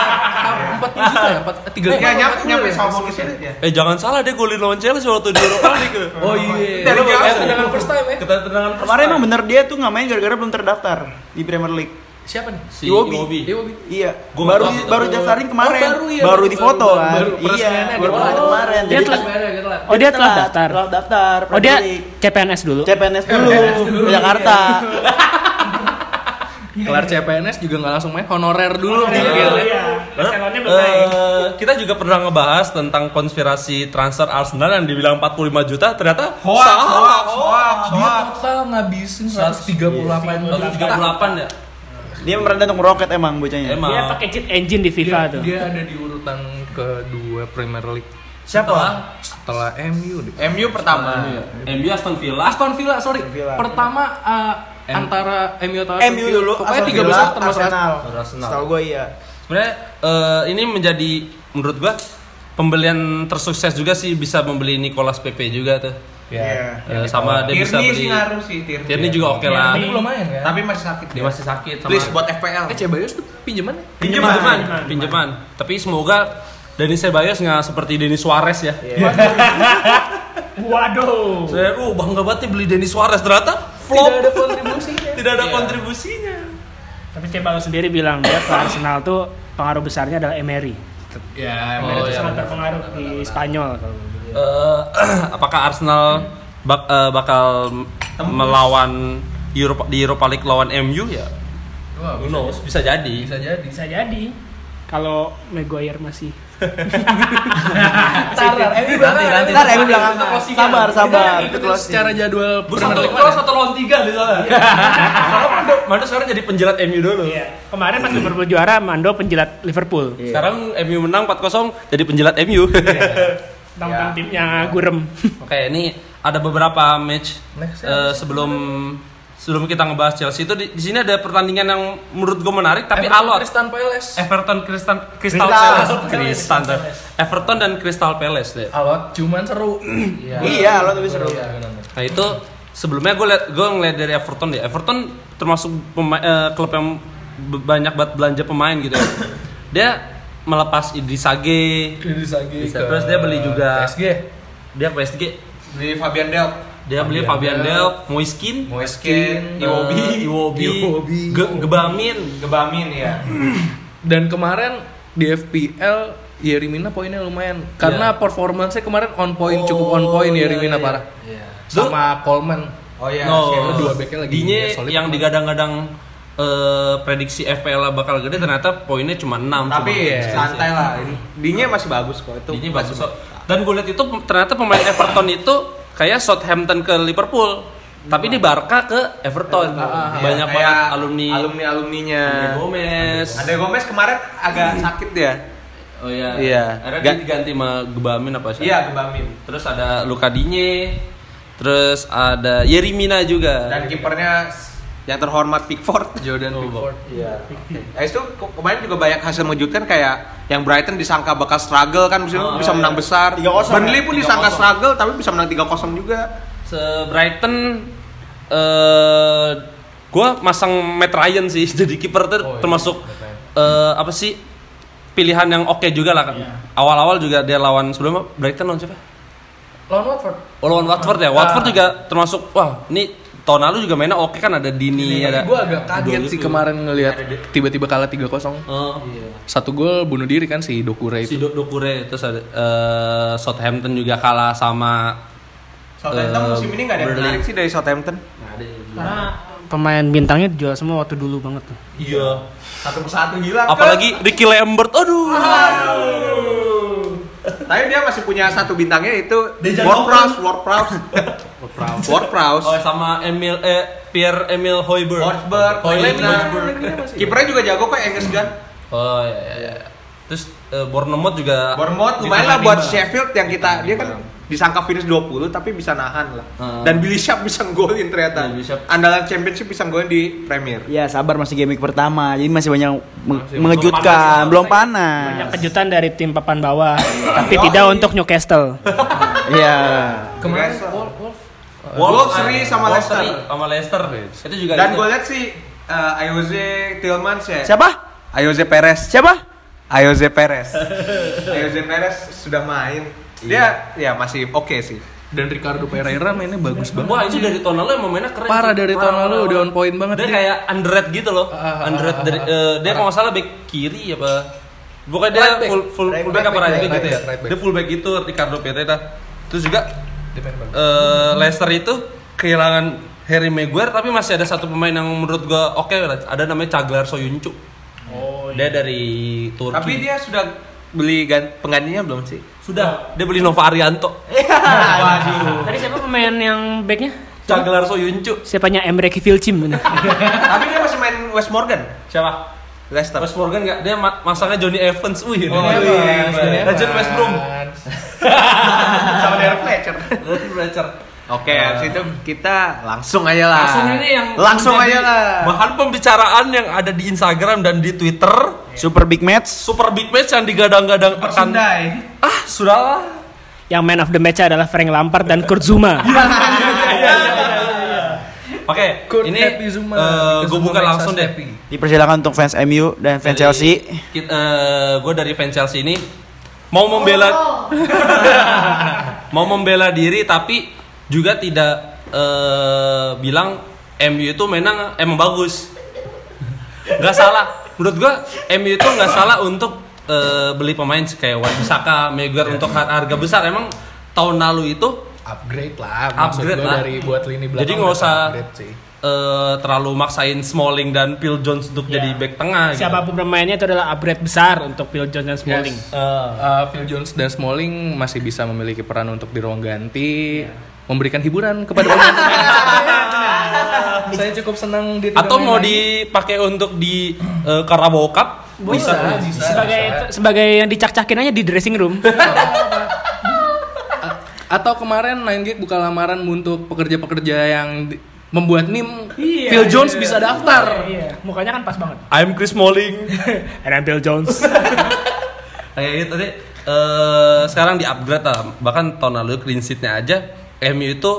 D: harga empat puluh juta ya empat tiga
B: Enggak Iya, nyampe nyampe sama gitu ya.
A: Eh jangan salah dia golin lawan Chelsea waktu di Europa League.
D: oh iya
B: Dari jauh.
D: Eh, tendangan first time ya
A: Ketenangan
C: Kemarin emang bener dia tuh nggak main gara-gara belum terdaftar di Premier League.
D: siapa nih
A: si
C: Iwobi.
A: Iwobi.
D: Iwobi
C: Iya,
A: Gua
C: baru
A: nggak tahu.
C: baru daftarin kemarin,
D: baru ya,
C: baru
D: baru-
C: di foto
D: baru-
C: kan.
D: baru
C: Iya,
D: peresmiannya
C: baru
D: dia.
C: ada
D: Oh.
C: kemarin.
E: Dia
C: Jadi
E: telat.
D: telat.
E: Oh dia telah daftar.
C: Iya, Telat daftar.
E: Oh dia
C: Premier League.
E: CPNS dulu.
C: CPNS dulu, ke Jakarta.
D: kelar
C: Iya,
D: CPNS juga nggak langsung main honorer dulu
E: Oh, iya.
D: ya.
E: Salonnya belum
A: Eh,
E: naik.
A: kita juga pernah ngebahas tentang konspirasi transfer Arsenal yang dibilang 45 juta ternyata
B: Hoax, hoax, hoax,
D: dia
B: hoax.
D: total ngabisin 138
A: Baru 38 ya?
C: Dia merendah untuk meroket emang bocahnya.
A: Emang.
E: Dia pakai cheat engine di FIFA
D: dia,
E: tuh.
D: dia ada di urutan kedua Premier League
A: Siapa?
D: setelah MU deh.
B: MU pertama.
A: Iya. MU Aston Villa.
D: Aston Villa sorry pertama eh, antara MU atau
C: MU dulu,
D: pokoknya
C: Aston
D: tiga
C: Villa,
D: besar termasuk
C: Arsenal.
A: Arsenal.
C: Setahu gue iya.
A: Sebenarnya eh, ini menjadi menurut gua pembelian tersukses juga sih bisa membeli Nicolas Pepe juga tuh.
C: Iya.
A: Eh, sama dia bisa
B: Tierney
A: beli.
B: sih ngaruh sih Tierney. Iya.
A: Tierney juga oke lah.
E: Tierney.
D: belum main kan?
B: Tapi masih sakit.
A: Dia
B: ya.
A: masih sakit sama
B: Please buat FPL.
D: Eh Ceballos tuh pinjaman?
A: pinjaman, pinjaman, pinjaman. Tapi semoga Dani Ceballos nggak seperti Denis Suarez ya.
E: Waduh.
A: Saya uh bangga banget nih beli Denis Suarez ternyata flop. Tidak ada Iya. kontribusinya. Tidak ada
B: Iya.
A: kontribusinya.
E: Tapi Ceballos sendiri bilang dia ke Arsenal tuh pengaruh besarnya adalah Emery.
C: Iya, Oh,
D: Ya,
E: Emery itu sangat berpengaruh di Spanyol kalau
A: Eh, apakah Arsenal bak- eh, bakal melawan Europa, di Europa League lawan MU ya? Who knows? Bisa jadi.
D: bisa jadi.
E: bisa jadi. Kalau Maguire masih
C: Ntar, Emi
A: Nanti, nanti.
C: Ntar, Emi bilang apa? Sabar, sabar.
D: Itu
C: Ketua sih.
D: secara jadwal
A: Gue
D: Premier
A: satu
D: League
A: kelas satu lawan tiga gitu, di sana. Sekarang Iya. Mando, Mando sekarang jadi penjilat MU dulu.
C: Iya.
E: Iya. Kemarin pas Liverpool juara, Mando penjilat
A: iya.
E: Liverpool.
A: Sekarang MU menang 4-0 jadi penjilat MU.
E: Tentang timnya gurem.
C: Iya.
A: Oke, ini ada beberapa match
D: ya,
A: eh, sebelum sebelum kita ngebahas Chelsea itu di, di sini ada pertandingan yang menurut gue menarik tapi
D: Everton
A: alot.
D: Crystal Palace.
A: Everton Crystal Crystal Palace.
C: Crystal.
A: Crystal. Everton dan Crystal Palace deh.
D: Eh, Alot, cuman seru.
C: Iya, lo tapi seru.
A: Nah itu sebelumnya gue liat gue ngeliat dari Everton deh. Everton termasuk pema- eh, klub yang be- banyak banget belanja pemain gitu. ya. dia melepas Idris Age,
D: Idris Agi
A: Bisa. Terus dia beli juga-
D: PSG.
A: dia PSG,
B: Beli Fabian Delp.
A: dia beli Fabian
D: Fabian
A: Delp, Moiskin,
B: Moeskin, eh,
A: Iwobi, Iwobi,
D: Iwobi.
A: Ge- Gebamin.
B: Gebamin ya.
D: Dan kemarin di FPL Yeri Mina poinnya lumayan karena
A: Iya.
D: performance performancenya kemarin on point cukup on
A: Oh,
D: point Yeri Mina parah. Sama Coleman.
B: Oh iya,
A: Iya. No,
B: siapa?
D: dua backnya lagi
A: Dinya
D: ya, solid
A: yang
D: banget.
A: digadang-gadang eh, prediksi FPL bakal gede ternyata poinnya cuma 6
B: tapi iya,
A: cuma
B: santai lah. Dinya masih bagus kok itu.
A: Ini bagus kok. Dan gue lihat itu ternyata pemain Everton itu kayak Southampton ke Liverpool, tapi di Barca ke Everton.
B: Ah,
A: Banyak
B: Iya, Kayak
A: banget alumni.
B: Alumni alumninya.
A: Andre Gomez.
B: Andre Gomez kemarin agak sakit dia.
A: Oh iya.
B: Iya.
A: Akhirnya
B: Ga-
A: dia diganti sama Gebamin apa sih?
B: Iya, Gebamin.
A: Terus ada Luka Digne. Terus ada Yerimina juga.
B: Dan kipernya yang terhormat Pickford.
D: Jordan Pickford.
B: Iya. Eh itu ke- kemarin juga banyak hasil mengejutkan kayak yang Brighton disangka bakal struggle kan bisa, bisa menang besar.
C: 3-0
B: Burnley
C: ya?
B: pun disangka struggle tapi bisa menang 3-0 juga.
A: Se Brighton eh gua masang Matt Ryan sih jadi kiper ter- termasuk eh, apa sih pilihan yang oke juga lah kan. Awal-awal juga dia lawan sebelum Brighton lawan siapa?
D: Lawan Watford.
A: Oh, lawan Watford ya. Watford juga termasuk wah, ini tahun lalu juga mainnya oke kan ada Dini ada.
D: Gue agak kaget Iya. sih kemarin ngelihat tiba-tiba kalah 3-0.
A: Eh,
D: Satu gol bunuh diri kan si Dokure
A: si
D: itu.
A: Do- Dokure terus ada eh, Southampton juga kalah sama
B: Southampton
A: Eh,
B: musim ini nggak ada yang
A: Burnley.
B: menarik sih dari Southampton.
A: Nah,
E: Karena pemain bintangnya dijual semua waktu dulu banget tuh.
A: Iya.
B: Satu persatu hilang.
A: Apalagi Ricky Lambert. Aduh.
B: Tapi dia masih punya satu bintangnya itu Ward-Prowse, Ward-Prowse. Ward-Prowse.
A: Oh, sama Emil eh Pierre Emil Hoiberg.
B: Hoiberg,
A: Hoiberg.
B: Kipernya juga jago kok Angus Gunn.
A: Oh iya, iya, iya. Terus eh, Bournemouth juga
B: Bournemouth lumayan lah buat Sheffield yang kita dia kan disangka finish 20 tapi bisa nahan lah.
A: Heeh. Iya,
B: Dan Billy Sharp bisa golin ternyata.
A: Billy Sharp.
B: Andalan Championship bisa golin di Premier.
C: Ya sabar masih game week pertama, jadi masih banyak me- mengejutkan, belum panas.
E: Banyak kejutan dari tim papan bawah, tapi tidak untuk Newcastle.
C: Iya.
B: Kemarin
A: Wolves
B: Wolves seri sama
A: Wolves
B: Leicester.
A: seri sama Leicester. Itu juga ini.
B: Dan gue lihat sih eh, Ayoze Tillmans ya.
C: Siapa?
B: Ayoze Perez.
C: Siapa?
B: Ayoze Perez. Ayoze Perez sudah main.
A: Iya.
B: Dia ya masih oke sih.
D: Dan Ricardo Pereira mainnya bagus banget.
A: Wah, itu dari tahun lalu emang mainnya keren.
D: Parah
A: sih.
D: dari tahun lalu udah on point banget
A: Dia
D: dia.
A: kayak underrated gitu loh.
D: ah, ah,
A: Underrated
D: ah,
A: dari
D: ah,
A: eh, dia kalau nggak salah back kiri apa Bukan
D: Right
A: dia
D: back.
A: full full
D: Right
A: full back
D: back,
A: apa right
D: right
A: back
D: back,
A: gitu ya.
D: right back.
A: Dia full back gitu Ricardo Pereira. Terus juga eh, Leicester itu kehilangan Harry Maguire tapi masih ada satu pemain yang menurut gua oke lah. ada namanya Caglar Soyuncu. Oh, Dia dari Turki.
B: Tapi dia sudah beli gan- penggantinya belum sih?
A: sudah dia beli Nova Arianto.
B: Waduh.
E: Tadi siapa pemain yang backnya?
A: Caglar Soyuncu.
E: Siapanya Emre Kifilcim bener.
B: Tapi dia masih main West Morgan.
A: Siapa?
B: Leicester.
A: Wes Morgan nggak dia ma- masangnya Johnny Evans. Wih, ini.
B: iya,
A: Legend West Brom.
B: Sama Darren Fletcher. Eh.
A: Legend Fletcher.
B: Oke, habis itu kita langsung aja lah.
A: Langsung ini yang
B: langsung
A: menjadi
B: aja lah.
A: Bahan pembicaraan yang ada di Instagram dan di Twitter.
C: Super big match.
A: Super big match yang digadang-gadang akan
B: Sundai.
A: ah sudahlah.
E: Yang man of the match adalah Frank Lampard dan Kurt Zuma.
A: Oke,
D: Good
A: ini
D: happy Zuma,
A: eh,
D: because
A: gue buka
D: Zuma makes
A: langsung
D: us
A: deh.
D: happy.
C: Dipersilakan untuk fans MU dan fans Chelsea.
A: gue eh, dari fans Chelsea ini mau membela mau membela diri tapi juga tidak eh, bilang MU itu menang emang bagus. Gak salah. Menurut gue MU itu nggak salah untuk eh, beli pemain kayak Wan Bissaka, Maguire untuk har- harga besar. Emang tahun lalu itu
D: upgrade lah maksud
A: Upgrade
D: gua
A: lah.
D: dari buat lini belakang
A: Jadi nggak
D: udah
A: usah
D: upgrade sih
A: eh, terlalu maksain Smalling dan Phil Jones
D: Iya.
A: untuk jadi back tengah. gitu.
E: Siapapun pemainnya itu adalah upgrade besar untuk Phil Jones dan Smalling.
D: Yes.
A: Eh,
D: Uh, Phil Jones dan Smalling masih bisa memiliki peran untuk di ruang ganti memberikan hiburan kepada orang saya cukup senang dia tidak
A: Atau mau
D: main-main.
A: dipakai untuk di eh, Carabao Cup bisa.
D: bisa,
E: Sebagai sebagai yang dicak-cakin aja di dressing room.
D: A- atau kemarin 9 gig buka lamaran untuk pekerja-pekerja yang di- membuat meme Phil Jones bisa daftar
E: Iya, mukanya kan pas banget.
A: I'm Chris Smalling.
E: And I'm Phil Jones.
A: Kayak gitu tadi eh, sekarang di upgrade lah. Bahkan tahun lalu clean sheet-nya aja MU itu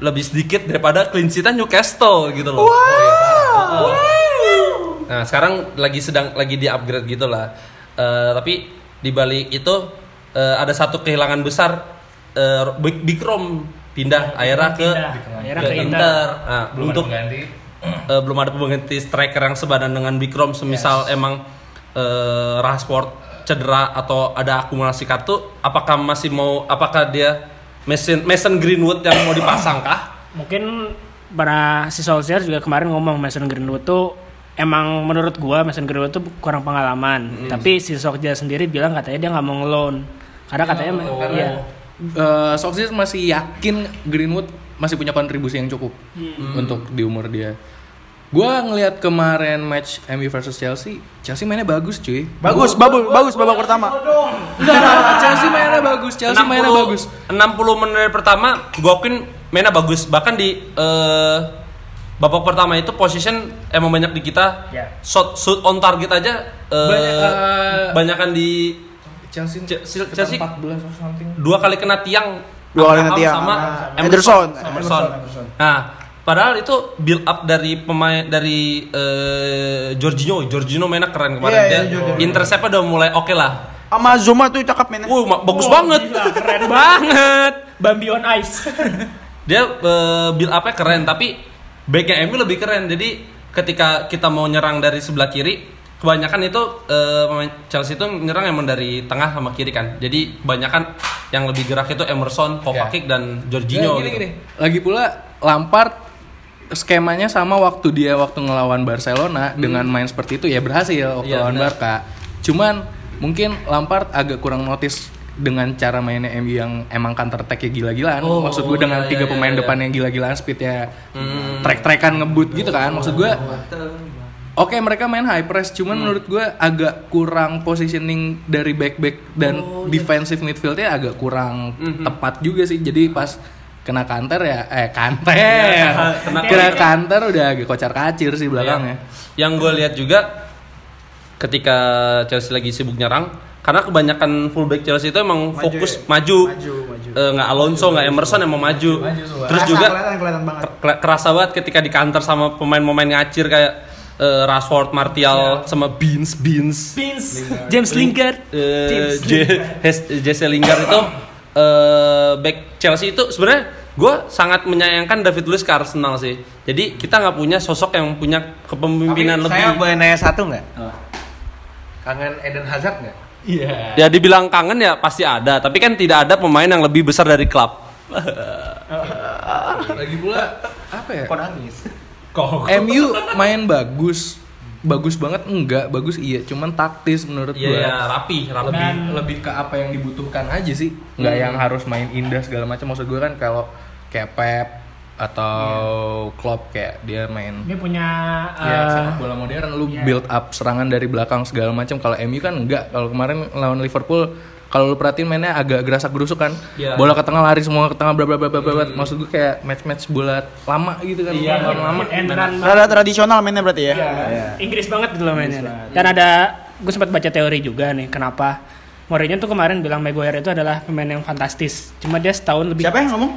A: lebih sedikit daripada clean sheet Newcastle gitu loh. Oh, iya. Nah, sekarang lagi sedang lagi di upgrade gitu lah. Eh, tapi di balik itu eh, ada satu kehilangan besar eh, Big, Big Rom pindah akhirnya ke
E: pindah. Akhirnya
A: ke
E: ke Inter.
A: Inter. Nah,
D: Belum
A: untuk
D: ada pengganti.
A: eh, belum ada pengganti striker yang sebadan dengan Bikrom semisal emang eh, Rashford cedera atau ada akumulasi kartu apakah masih mau apakah dia Mason Mason Greenwood yang mau dipasang kah?
E: Mungkin para si Solskjaer juga kemarin ngomong Mason Greenwood tuh emang menurut gua Mason Greenwood tuh kurang pengalaman. Tapi si Solskjaer sendiri bilang katanya dia nggak mau ngeloan. Karena katanya iya.
D: Eh, Solskjaer masih yakin Greenwood masih punya kontribusi yang cukup untuk di umur dia. Gua ngelihat kemarin match MU versus Chelsea, Chelsea mainnya bagus cuy.
C: Bagus, bagus, bagus babak pertama.
D: Enggak, Chelsea mainnya bagus, Chelsea mainnya bagus.
A: 60 menit pertama Gokin mainnya bagus bahkan di eh, babak pertama itu position emang banyak di kita
E: Ya.
A: shot shoot on target aja eh,
D: Banyak, eh,
A: banyakan di
D: Chelsea
A: Ce- Chelsea-
D: sekitar 14 or something.
A: dua kali kena tiang
C: Dua kali kena
A: Abraham
C: tiang.
A: sama
C: Ah,
A: Emerson.
C: Ederson.
A: Emerson. Nah, padahal itu build up dari pemain dari eh, Jorginho. Jorginho mainnya keren kemarin
C: Iya, iya,
A: dia.
C: Jorginho.
A: intercept-nya udah mulai oke lah.
C: Sama Zuma tuh cakep mainnya.
A: Wuh, ma- bagus
E: Wah,
A: banget.
E: gila, keren
A: banget.
E: Bambi on ice.
A: Dia eh, build up-nya keren tapi backnya MU lebih keren. Jadi ketika kita mau nyerang dari sebelah kiri kebanyakan itu eh, pemain Chelsea itu menyerang emang dari tengah sama kiri kan. Jadi kebanyakan yang lebih gerak itu Emerson, Kovacic
E: Ya.
A: dan Jorginho.
E: Eh,
D: Nah, gini,
A: gitu.
D: gini. Lagi pula Lampard skemanya sama waktu dia waktu ngelawan Barcelona dengan main seperti itu ya berhasil
A: Hmm.
D: waktu
A: Iya,
D: lawan
A: benar.
D: Barca. Cuman mungkin Lampard agak kurang notice dengan cara mainnya MU yang emang counter attack ya gila-gilaan.
A: Oh,
D: Maksud gue dengan
A: iya,
D: tiga
A: iya,
D: pemain
A: iya. Hmm.
D: depan yang gila-gilaan speed ya trek-trekan ngebut gitu kan. Maksud gue
A: Oh,
D: Oke mereka main high press, cuman
A: Hmm.
D: menurut gue agak kurang positioning dari back back dan
A: Oh, iya.
D: defensive midfieldnya agak kurang
A: Mhm.
D: tepat juga sih. Jadi pas kena kanter ya, eh kanter,
A: Iya, kena-
D: kena kanter udah agak kocar kacir sih
A: Iya.
D: belakangnya.
A: ya. Yang gue lihat juga ketika Chelsea lagi sibuk nyerang, karena kebanyakan fullback Chelsea itu emang fokus maju, Eh, nggak Alonso, nggak Emerson emang maju. Terus juga ke- kela- kerasa banget ketika di counter sama pemain-pemain ngacir kayak eh, Rashford, Martial, sama Beans, Beans,
E: Pins. James Lingard.
A: eh, J- Hes- Jesse Lingard itu eh, back Chelsea itu sebenarnya gue sangat menyayangkan David Luiz ke Arsenal sih. Jadi kita nggak punya sosok yang punya kepemimpinan
B: Tapi
A: lebih.
B: Saya boleh nanya satu nggak? Kangen Eden Hazard nggak?
A: Ya dibilang kangen ya pasti ada, tapi kan tidak ada pemain yang lebih besar dari klub. Iya.
D: Lagi pula apa ya?
B: Kok nangis?
D: MU main bagus, bagus banget enggak, bagus iya, cuman taktis menurut
A: Iya,
D: gue.
A: ya, rapi, rapi.
D: lebih lebih ke apa yang dibutuhkan aja sih Hmm. nggak yang harus main indah segala macam maksud gue kan kalau kayak Pep atau Klopp kayak dia main
E: Dia punya
D: ya
E: eh,
D: sepak bola Iya. modern lu build up serangan dari belakang segala macam kalau MU kan enggak kalau kemarin lawan Liverpool kalau lu perhatiin mainnya agak gerasak gerusuk kan
B: Iya.
D: bola ke tengah lari semua ke tengah bla bla bla bla bla bla. maksud gue kayak match match bola lama gitu kan
E: Iya,
D: bola lama
E: and run
C: Rada tradisional mainnya berarti ya. Iya.
E: Inggris banget gitu loh mainnya. Dan ada gue sempat baca teori juga nih kenapa Mourinho tuh kemarin bilang Maguire itu adalah pemain yang fantastis. Cuma dia setahun lebih.
C: Siapa yang ngomong?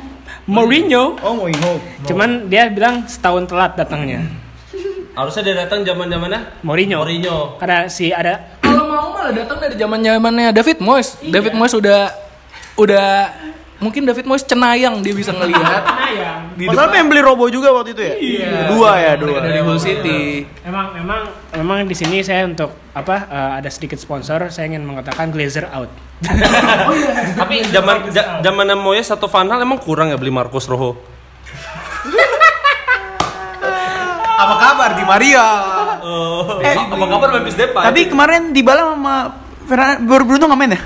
E: Mourinho.
C: Oh, Mourinho.
E: Cuman dia bilang setahun telat datangnya.
A: Harusnya dia datang zaman zamannya
E: Mourinho.
A: Mourinho.
E: Karena si ada
D: kalau mau malah datang dari zaman zamannya David Moyes David Moyes udah udah mungkin David Moyes cenayang dia bisa ngelihat di
C: Masalah pengen beli Robo juga waktu itu ya? Iya. Dua ya, dua.
D: dari Hull City
E: Emang memang memang di sini saya untuk apa eh, ada sedikit sponsor saya ingin mengatakan Glazer out.
A: Tapi zaman ja- zaman Moyes atau Van Hal emang kurang ya beli Marcos Rojo.
B: Apa kabar di Maria?
A: Eh, apa kabar Memphis Depay?
C: Tapi kemarin Dybala sama Fernando baru Bruno nggak main ya?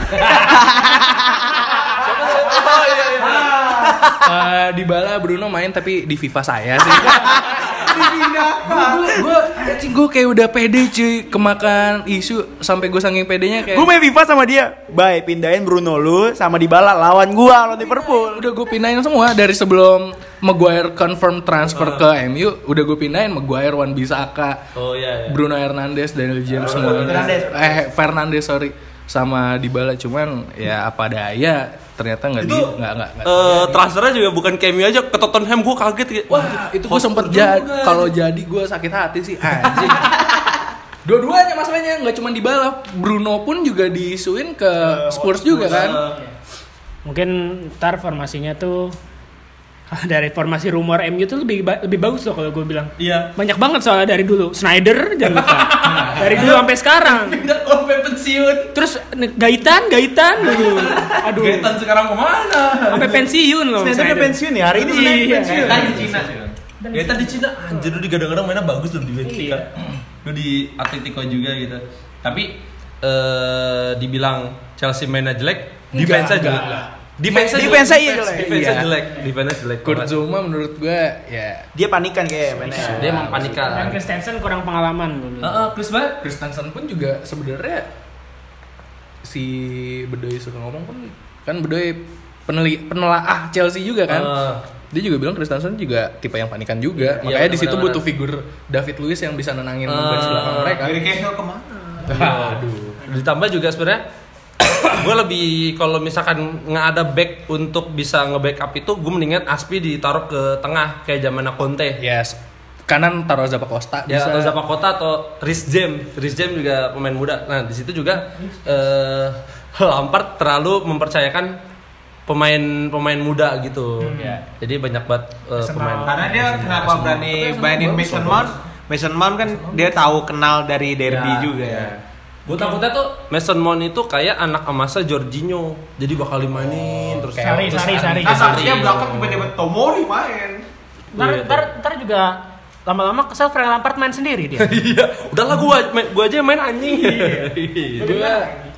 D: Eh, Dybala Bruno main tapi di FIFA saya sih. gue gue anjing, gue kayak udah pede cuy kemakan isu sampai gue saking pedenya kayak
C: Gue main FIFA sama dia. Baik, pindahin Bruno lu sama Dybala lawan gua lawan Liverpool.
D: udah gue pindahin semua dari sebelum Maguire confirm transfer ke MU udah gue pindahin Maguire Wan Bisaka
A: Oh iya. iya.
D: Bruno Hernandez Daniel James semuanya eh Fernandes sorry sama Dybala cuman ya apa daya ternyata nggak di nggak nggak nggak-
A: Eh, transfernya juga bukan cameo aja ke Tottenham gue kaget gitu.
D: Wah, itu gue sempet jadi kalau jadi gue sakit hati sih anjing. Dua-duanya masalahnya nggak cuma di balap, Bruno pun juga diisuin ke Spurs juga kan.
E: Mungkin ntar formasinya tuh dari formasi rumor MU tuh lebih ba- lebih bagus loh kalau gue bilang.
A: Iya.
E: Banyak banget soalnya dari dulu. Snyder jangan lupa. dari dulu sampai sekarang.
A: Tidak sampai pensiun.
E: Terus ne- gaitan, gaitan dulu. Aduh.
A: Getan sekarang kemana?
E: Sampai pensiun loh.
C: Snyder udah
E: Snyder.
C: pensiun ya, hari ini Snyder
E: Iya.
C: pensiun.
B: Kan di Cina.
A: Getan di Cina anjir lu digadang-gadang mainnya bagus loh di Benfica. Lu di Atletico juga gitu. Tapi eh dibilang Chelsea mainnya jelek, defense-nya jelek. Defense-nya jelek.
C: Defense-nya iya jelek.
A: Defense-nya
D: Iya.
A: jelek. Defense-nya jelek.
D: Kurt
A: banget.
D: Zouma menurut gue ya
C: Dia panikan kayak mainnya.
A: Dia emang panikan.
E: Dan Christensen kurang pengalaman gue
A: Heeh,
E: bilang.
A: Chris banget.
D: Kristensen pun juga sebenarnya si Bedoy suka ngomong pun kan Bedoy peneli, penelaah Chelsea juga kan.
A: Eh.
D: Dia juga bilang Kristensen juga tipe yang panikan juga.
A: Iya,
D: Makanya di situ
A: benar-benar.
D: butuh figur David Luiz yang bisa nenangin
A: Eh.
D: garis belakang mereka.
B: Dari Cahill kemana?
E: Iya.
D: Aduh.
A: ditambah juga sebenarnya gue lebih kalau misalkan nggak ada back untuk bisa nge-backup itu gue mendingan Aspi ditaruh ke tengah kayak zaman Conte
D: Yes. Kanan taruh Zappa Costa
A: dia Ya,
D: bisa.
A: atau Zappa Kota atau Riz James Riz James juga pemain muda nah di situ juga eh, Lampard terlalu mempercayakan pemain pemain muda gitu
E: Hmm.
A: jadi banyak banget eh, pemain
E: Iya.
B: Karena dia kenapa berani mainin Mason Mount? Mason Mount kan dia tahu kenal dari derby
A: Ya,
B: juga ya.
A: gue takutnya tuh Mason Mount itu kayak anak emasnya Jorginho jadi bakal dimainin terus
E: Oh, Sari,
A: terus-
E: sari, sari.
B: Nah,
A: terus-
B: seharusnya belakang tiba-tiba Tomori main.
E: Ntar,
A: Iya,
E: ntar, ntar juga lama-lama kesel Frank Lampard main sendiri dia.
A: Iya, udahlah gua main- gua aja yang main anjing.
E: Iya.
D: Gue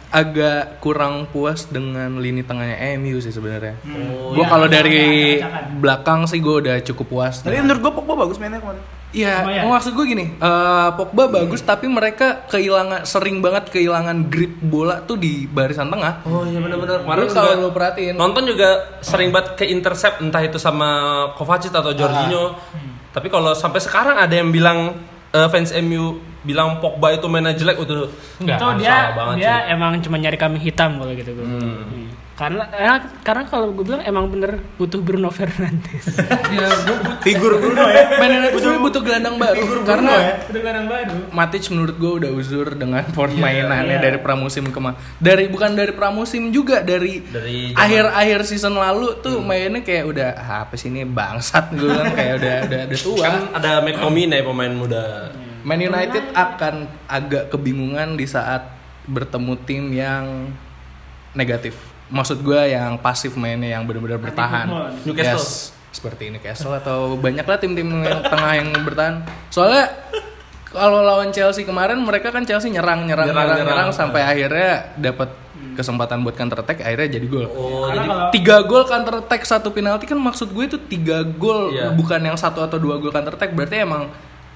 D: agak kurang puas dengan lini tengahnya MU sih sebenarnya.
A: Oh,
D: gue
E: iya.
D: kalau dari
E: Acak-acakan.
D: belakang sih gue udah cukup puas.
C: Tapi menurut gua Pogba bagus mainnya kemarin.
E: Lumayan.
A: ya?
D: Iya, maksud gue gini, eh, Pogba bagus tapi mereka kehilangan sering banget kehilangan grip bola tuh di barisan tengah.
A: Oh iya benar-benar. Kemarin
D: Lu
A: juga
D: kalau lu perhatiin,
A: nonton juga sering banget ke intercept entah itu sama Kovacic atau Jorginho. Hmm. Tapi kalau sampai sekarang ada yang bilang eh, fans MU bilang Pogba itu mainnya jelek itu
E: itu
A: salah
E: dia
A: banget
E: dia
A: sih.
E: emang cuma nyari kami hitam kalau gitu gue. Hmm. Karena eh, karena kalau gue bilang emang bener butuh Bruno Fernandes.
A: iya,
D: ya, gua butuh-
C: Figur Bruno ya.
D: mainan itu butuh gelandang baru karena
A: ya.
E: Udah gelandang baru.
D: Matic menurut gue udah uzur dengan
A: Iya,
D: permainannya dari pramusim kemarin. Dari bukan dari pramusim juga dari
A: Dari zaman- Hmm.
D: akhir-akhir season lalu tuh mainnya kayak udah "Ah, apa sih ini bangsat gue bilang kayak udah udah udah tua.
A: kan ada McTominay pemain muda.
D: Man United akan agak kebingungan di saat bertemu tim yang negatif. Maksud gue yang pasif mainnya yang benar-benar bertahan.
E: football.
A: Newcastle.
D: Yes, seperti Newcastle atau banyaklah tim-tim yang tengah yang bertahan. Soalnya kalau lawan Chelsea kemarin mereka kan Chelsea nyerang
A: Nyerang,
D: nyerang nyerang nyerang, Iya.
A: nyerang.
D: sampai akhirnya dapat kesempatan buat counter attack akhirnya jadi gol.
A: Oh,
E: Karena
A: jadi
E: kalau
D: Tiga gol counter attack satu penalti kan maksud gue itu tiga gol
A: Iya.
D: bukan yang satu atau dua gol counter attack berarti emang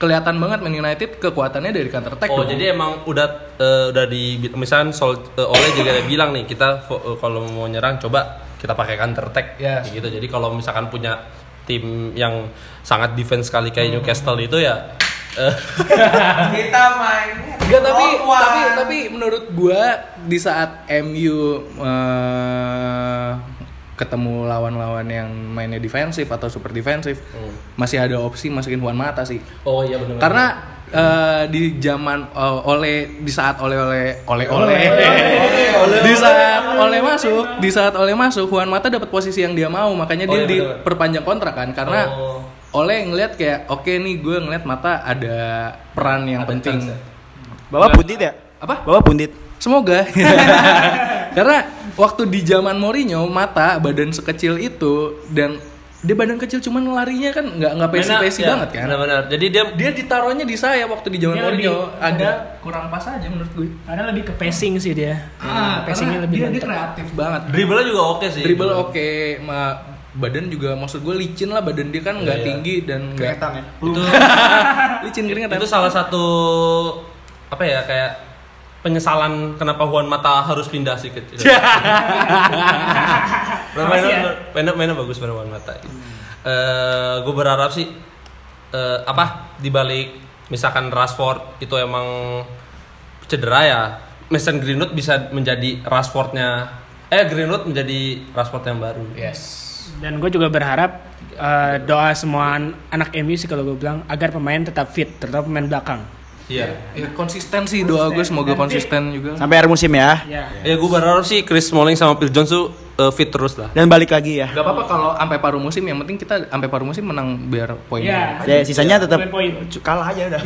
D: kelihatan banget Man United kekuatannya dari counter attack
A: Oh
D: dong.
A: jadi emang udah eh, udah di misalnya Sol, eh, Ole juga ada bilang nih kita fo- eh, kalau mau nyerang coba kita pakai counter attack
D: Yes.
A: Kayak gitu. Jadi kalau misalkan punya tim yang sangat defense sekali kayak Newcastle itu ya eh,
B: Kita mainnya.
D: Enggak tapi
B: Ottawa.
D: tapi tapi menurut gua di saat MU eh, ketemu lawan-lawan yang mainnya defensif atau super defensif
A: Hmm.
D: masih ada opsi masukin Juan Mata sih.
A: oh iya benar.
D: Karena eh, di zaman eh, oleh di saat oleh oleh oleh oleh di saat oleh masuk di saat oleh masuk Juan Mata dapat posisi yang dia mau makanya
A: Oh,
D: dia
A: iya, bener-bener.
D: diperpanjang kontrak kan karena
A: Oh.
D: oleh ngelihat kayak oke nih gue ngelihat Mata ada peran yang
A: Ada
D: penting
A: chance ya.
C: Bapak buntit ya?
D: apa
C: Bapak buntit.
D: Semoga. Karena waktu di zaman Mourinho mata badan sekecil itu dan dia badan kecil cuman larinya kan nggak nggak pesi-pesi banget kan.
A: Benar-benar. ya, Jadi dia
D: Dia ditaruhnya di saya waktu di zaman
E: Dia
D: Mourinho
E: lebih-
D: agak kurang pas aja menurut gue.
E: Karena lebih ke pacing sih dia. Iya,
D: Ah,
E: pacingnya
D: karena
E: lebih
D: dia, dia
E: mantep.
D: kreatif banget.
A: dribble juga oke sih.
D: Dribble oke, ma- badan juga maksud gue licin lah badan dia kan nggak
A: Iya.
D: tinggi dan nggak
C: Kelihatan ya.
A: Itu
D: licin kan? keringetan.
A: itu salah satu apa ya kayak penyesalan kenapa Juan Mata harus pindah sih ke Mainnya mainnya- mainnya bagus bener Juan Mata. gue berharap sih eh, apa dibalik misalkan Rashford itu emang cedera ya Mason Greenwood bisa menjadi Rashfordnya eh Greenwood menjadi Rashford yang baru.
D: Yes.
E: Dan gue juga berharap eh, doa semua an- anak MU sih kalau gue bilang agar pemain tetap fit, terutama pemain belakang.
A: Iya.
D: Ya, konsisten sih doa gue semoga konsisten juga.
C: Sampai akhir musim ya.
E: Ya.
A: Ya gue berharap sih Chris Smalling sama Phil Jones tuh eh, fit terus lah.
C: Dan balik lagi ya.
D: Gak apa-apa kalau sampai paruh musim yang penting kita sampai paruh musim menang biar poinnya.
C: Ya,
E: Iya.
C: sisanya tetap
E: Poin-poin.
C: kalah aja udah.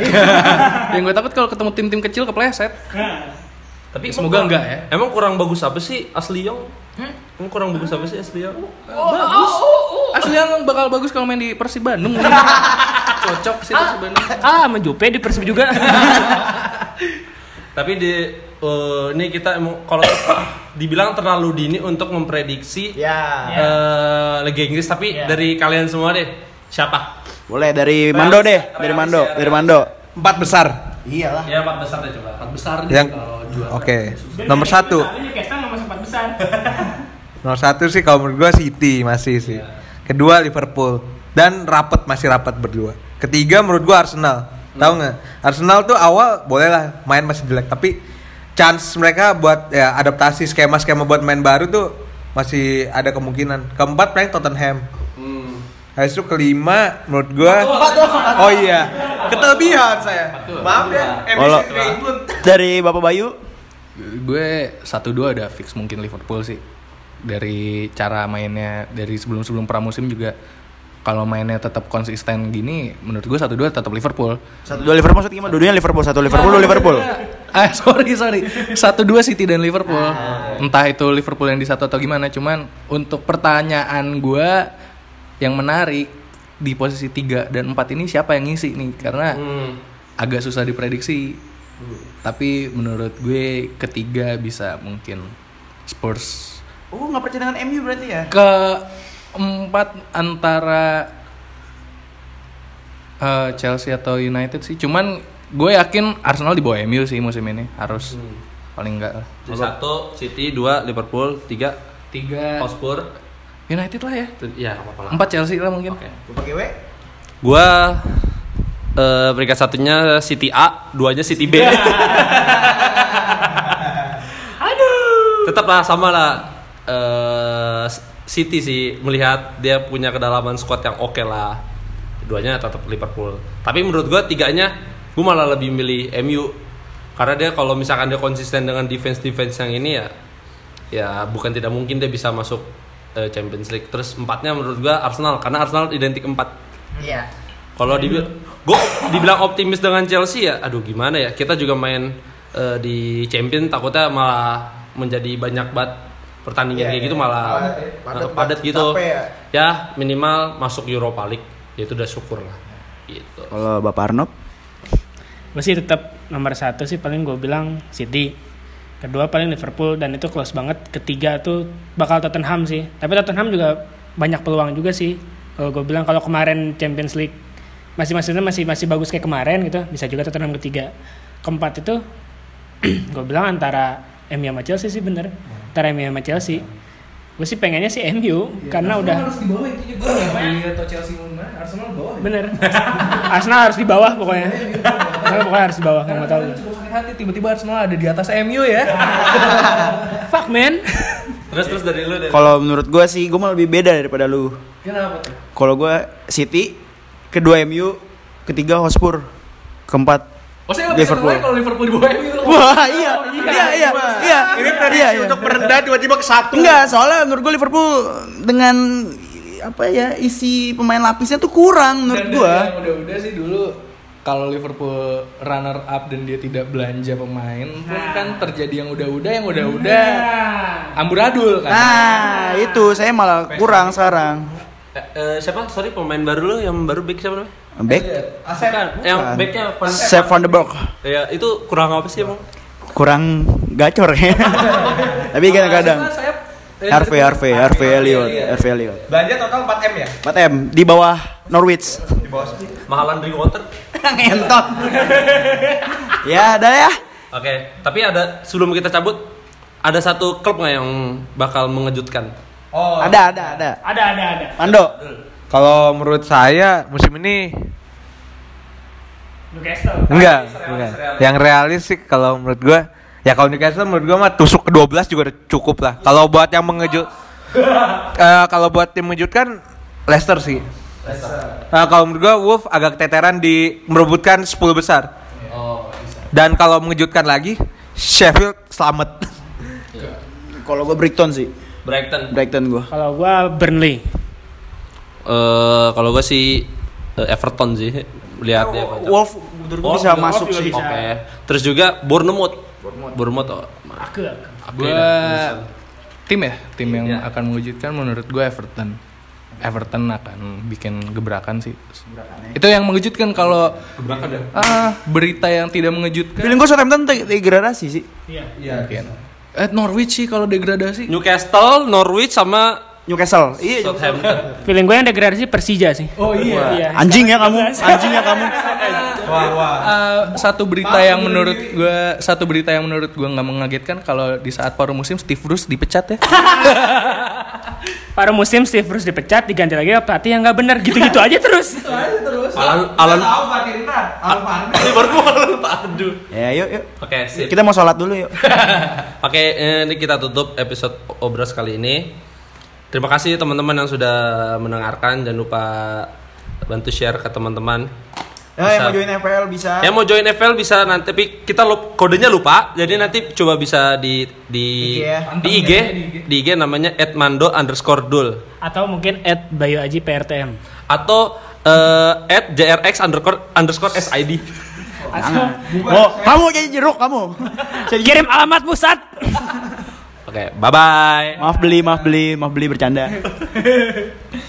D: yang gue takut kalau ketemu tim-tim kecil kepleset.
A: Tapi emang
D: Semoga
A: kurang-
D: enggak ya.
A: Emang kurang bagus apa sih Asli Yong? Emang kurang bagus apa sih Asli Yong?
D: bagus. Asli yang bakal bagus kalau main di Persib Bandung. Cocok sih Persib Bandung.
E: Ah, menjupe di Persib juga.
A: Tapi di eh, ini kita emang kalau dibilang terlalu dini untuk memprediksi
C: Ya.
A: eh, Liga Inggris tapi dari kalian semua deh siapa?
C: Boleh dari Mando deh, dari Mando, dari Mando.
B: empat besar.
C: Iyalah.
A: Ya empat besar deh coba.
D: Besar deh
B: Yang
D: kalau
B: oke.
A: kan
B: Nomor satu.
E: Newcastle mau masuk empat besar.
B: Nomor satu sih kalau menurut gua City masih sih. Kedua Liverpool dan rapat masih rapat berdua. Ketiga menurut gua Arsenal. Tahu nggak? Arsenal tuh awal bolehlah main masih jelek tapi chance mereka buat ya adaptasi skema-skema buat main baru tuh masih ada kemungkinan. Keempat paling Tottenham. Habis itu kelima menurut gua Oh iya, ketelebihan saya. Maaf ya,
C: Kalau
B: MSC England.
C: dari Bapak Bayu
D: Gue satu dua udah fix mungkin Liverpool sih. Dari cara mainnya dari sebelum-sebelum pramusim juga kalau mainnya tetap konsisten gini menurut gue satu dua tetap Liverpool.
C: satu dua Liverpool satu gimana? Dua-duanya Liverpool, satu Liverpool, dua Liverpool.
D: ah sorry sorry satu dua City dan Liverpool
C: Ah.
D: entah itu Liverpool yang di satu atau gimana cuman untuk pertanyaan gua yang menarik di posisi 3 dan 4 ini siapa yang ngisi nih karena
C: Hmm.
D: agak susah diprediksi tapi menurut gue ketiga bisa mungkin Spurs
C: Oh, nggak percaya dengan MU berarti ya?
D: ke empat antara eh, Chelsea atau United sih cuman gue yakin Arsenal di bawah MU sih musim ini harus paling enggak lah.
A: Jadi satu City, dua Liverpool, tiga
D: tiga
A: Hotspur.
D: United lah ya
A: Itu- Ya apa-apa lah.
D: empat Chelsea lah mungkin
A: Oke.
C: Pakai W?
A: Gua eh peringkat satunya City A, duanya City B. Aduh. Tetaplah sama lah eh, City sih melihat dia punya kedalaman squad yang oke lah. Duanya tetap Liverpool. Tapi menurut gua tiganya gua malah lebih milih MU karena dia kalau misalkan dia konsisten dengan defense defense yang ini ya ya bukan tidak mungkin dia bisa masuk eh, Champions League. Terus empatnya menurut gua Arsenal karena Arsenal identik empat
C: Iya.
A: kalau dibil- gua dibilang optimis dengan Chelsea ya, aduh gimana ya? Kita juga main eh, di Champion takutnya malah menjadi banyak banget pertandingan
C: Iya,
A: kayak
C: iya.
A: gitu malah
C: Padat
A: eh,
C: ya, padat
A: padat,
C: banget,
A: gitu.
C: capek
A: Ya.
C: ya.
A: minimal masuk Europa League, ya itu udah syukur lah. Gitu.
C: Kalau Bapak Arnob
E: Gue sih tetap nomor satu sih paling gue bilang City. Kedua paling Liverpool dan itu close banget. Ketiga tuh bakal Tottenham sih. Tapi Tottenham juga banyak peluang juga sih. Kalau gue bilang kalau kemarin Champions League masih maksudnya masih masih bagus kayak kemarin gitu bisa juga Tottenham ketiga keempat itu gue bilang antara MU sama Chelsea sih bener antara MU sama Chelsea gue sih pengennya sih MU karena udah
F: harus di bawah intinya gue
D: Iya,
F: nggak peduli atau Chelsea mau menang Arsenal di bawah ya.
E: bener Arsenal harus di bawah pokoknya Arsenal pokoknya harus di bawah
F: Karena
E: nggak mau tahu
D: Iya.
F: kemarin cukup sakit hati tiba-tiba Arsenal ada di atas MU ya.
E: fuck man
A: Terus terus dari lu dari
C: Kalau menurut gue sih, gue malah lebih beda daripada lu.
F: Kenapa tuh?
C: Kalau gue City, kedua MU, ketiga Hotspur, keempat
F: Oh saya nggak bisa
C: Liverpool.
F: ngelayang kalau Liverpool di bawah MU.
C: Wah iya, iya, iya, iya.
B: Ini
C: iya,
B: prediksi
C: iya.
B: untuk merendah tiba-tiba ke satu.
C: Enggak, soalnya menurut gue Liverpool dengan apa ya isi pemain lapisnya tuh kurang menurut
D: Dan dari
C: gue.
D: yang udah-udah sih dulu kalau Liverpool runner up dan dia tidak belanja pemain pun kan terjadi yang udah-udah yang udah-udah amburadul kan.
C: Nah itu saya malah kurang sekarang.
A: Eh, eh, siapa? Sorry pemain baru lu yang baru back siapa namanya?
C: Iya, Back,
B: Asep.
A: Bukan, yang
C: Bukan.
A: backnya Van
C: Seth Van de Beek
A: Ya, itu kurang apa sih emang?
C: kurang gacor ya. Tapi kadang-kadang RV, RV, RV Elliot, RV Elliot.
B: Belanja total 4 m ya.
C: 4 M di bawah Norwich.
B: Di bawah sini.
A: Mahalan Drinkwater.
C: Ngentot. ya ada ya.
A: Oke, tapi ada sebelum kita cabut ada satu klub nggak yang bakal mengejutkan?
B: Oh.
C: Ada, ada, ada.
E: ada ada ada
C: Mando.
B: Kalau menurut saya musim ini
E: Newcastle
B: enggak, enggak. Yang realis sih kalau menurut gua ya kalau Newcastle menurut gua mah tusuk ke-12 juga udah cukup lah. Kalau buat yang mengejut Eh, kalau buat tim mengejutkan Leicester sih. Eh, kalau menurut gua Wolf agak keteteran di merebutkan 10 besar. Oh, Dan kalau mengejutkan lagi Sheffield selamat.
C: Kalau gue Brighton sih,
A: Brighton.
C: Brighton gue.
E: kalau gua Burnley
A: Eh, kalau gue sih eh, Everton sih lihatnya.
C: Oh, Wolf menurut gue bisa masuk sih.
A: Oke. Terus juga Bournemouth. Bournemouth. oh.
E: aku
A: oke,
D: Gua
A: dah. Iya.
D: tim ya, tim yang akan mewujudkan menurut gue Everton. Everton akan bikin gebrakan sih. Itu yang mengejutkan kalau
A: ya?
D: ah, berita yang tidak mengejutkan
C: Feeling gue Southampton te- degradasi sih.
D: mungkin. Eh Norwich sih kalau degradasi.
A: Newcastle, Norwich sama
C: Newcastle. Iya.
A: Southampton.
E: feeling gue yang degradasi Persija sih oh iya,
C: Anjing ya kamu, anjing ya kamu.
B: Wah, wah.
D: Eh, satu berita yang menurut gue satu berita yang menurut gue nggak mengagetkan kalau di saat paruh musim Steve Bruce dipecat ya.
E: Paruh musim Steve Bruce dipecat diganti lagi sama pelatih yang nggak benar gitu-gitu aja terus
A: Alan Alan Ah, Liverpool Aduh.
C: Ya, yuk, yuk.
A: Oke, sip.
C: Kita mau sholat dulu yuk.
A: Oke, eh, ini kita tutup episode obras kali ini. Terima kasih teman-teman yang sudah mendengarkan. Jangan lupa bantu share ke teman-teman.
C: Ya, yang mau join FPL bisa.
A: Yang mau join FL bisa nanti tapi kita lup- kodenya lupa. Jadi nanti coba bisa di di
C: Iya.
A: di IG, di IG namanya @mando underscore dul
E: atau mungkin at Bayu Aji PRTM
A: atau eh, @jrx underscore underscore sid.
E: atau
C: Oh, kamu jadi jeruk kamu.
E: kirim alamat pusat
A: Oke, bye bye.
C: Maaf beli, maaf beli, maaf beli bercanda.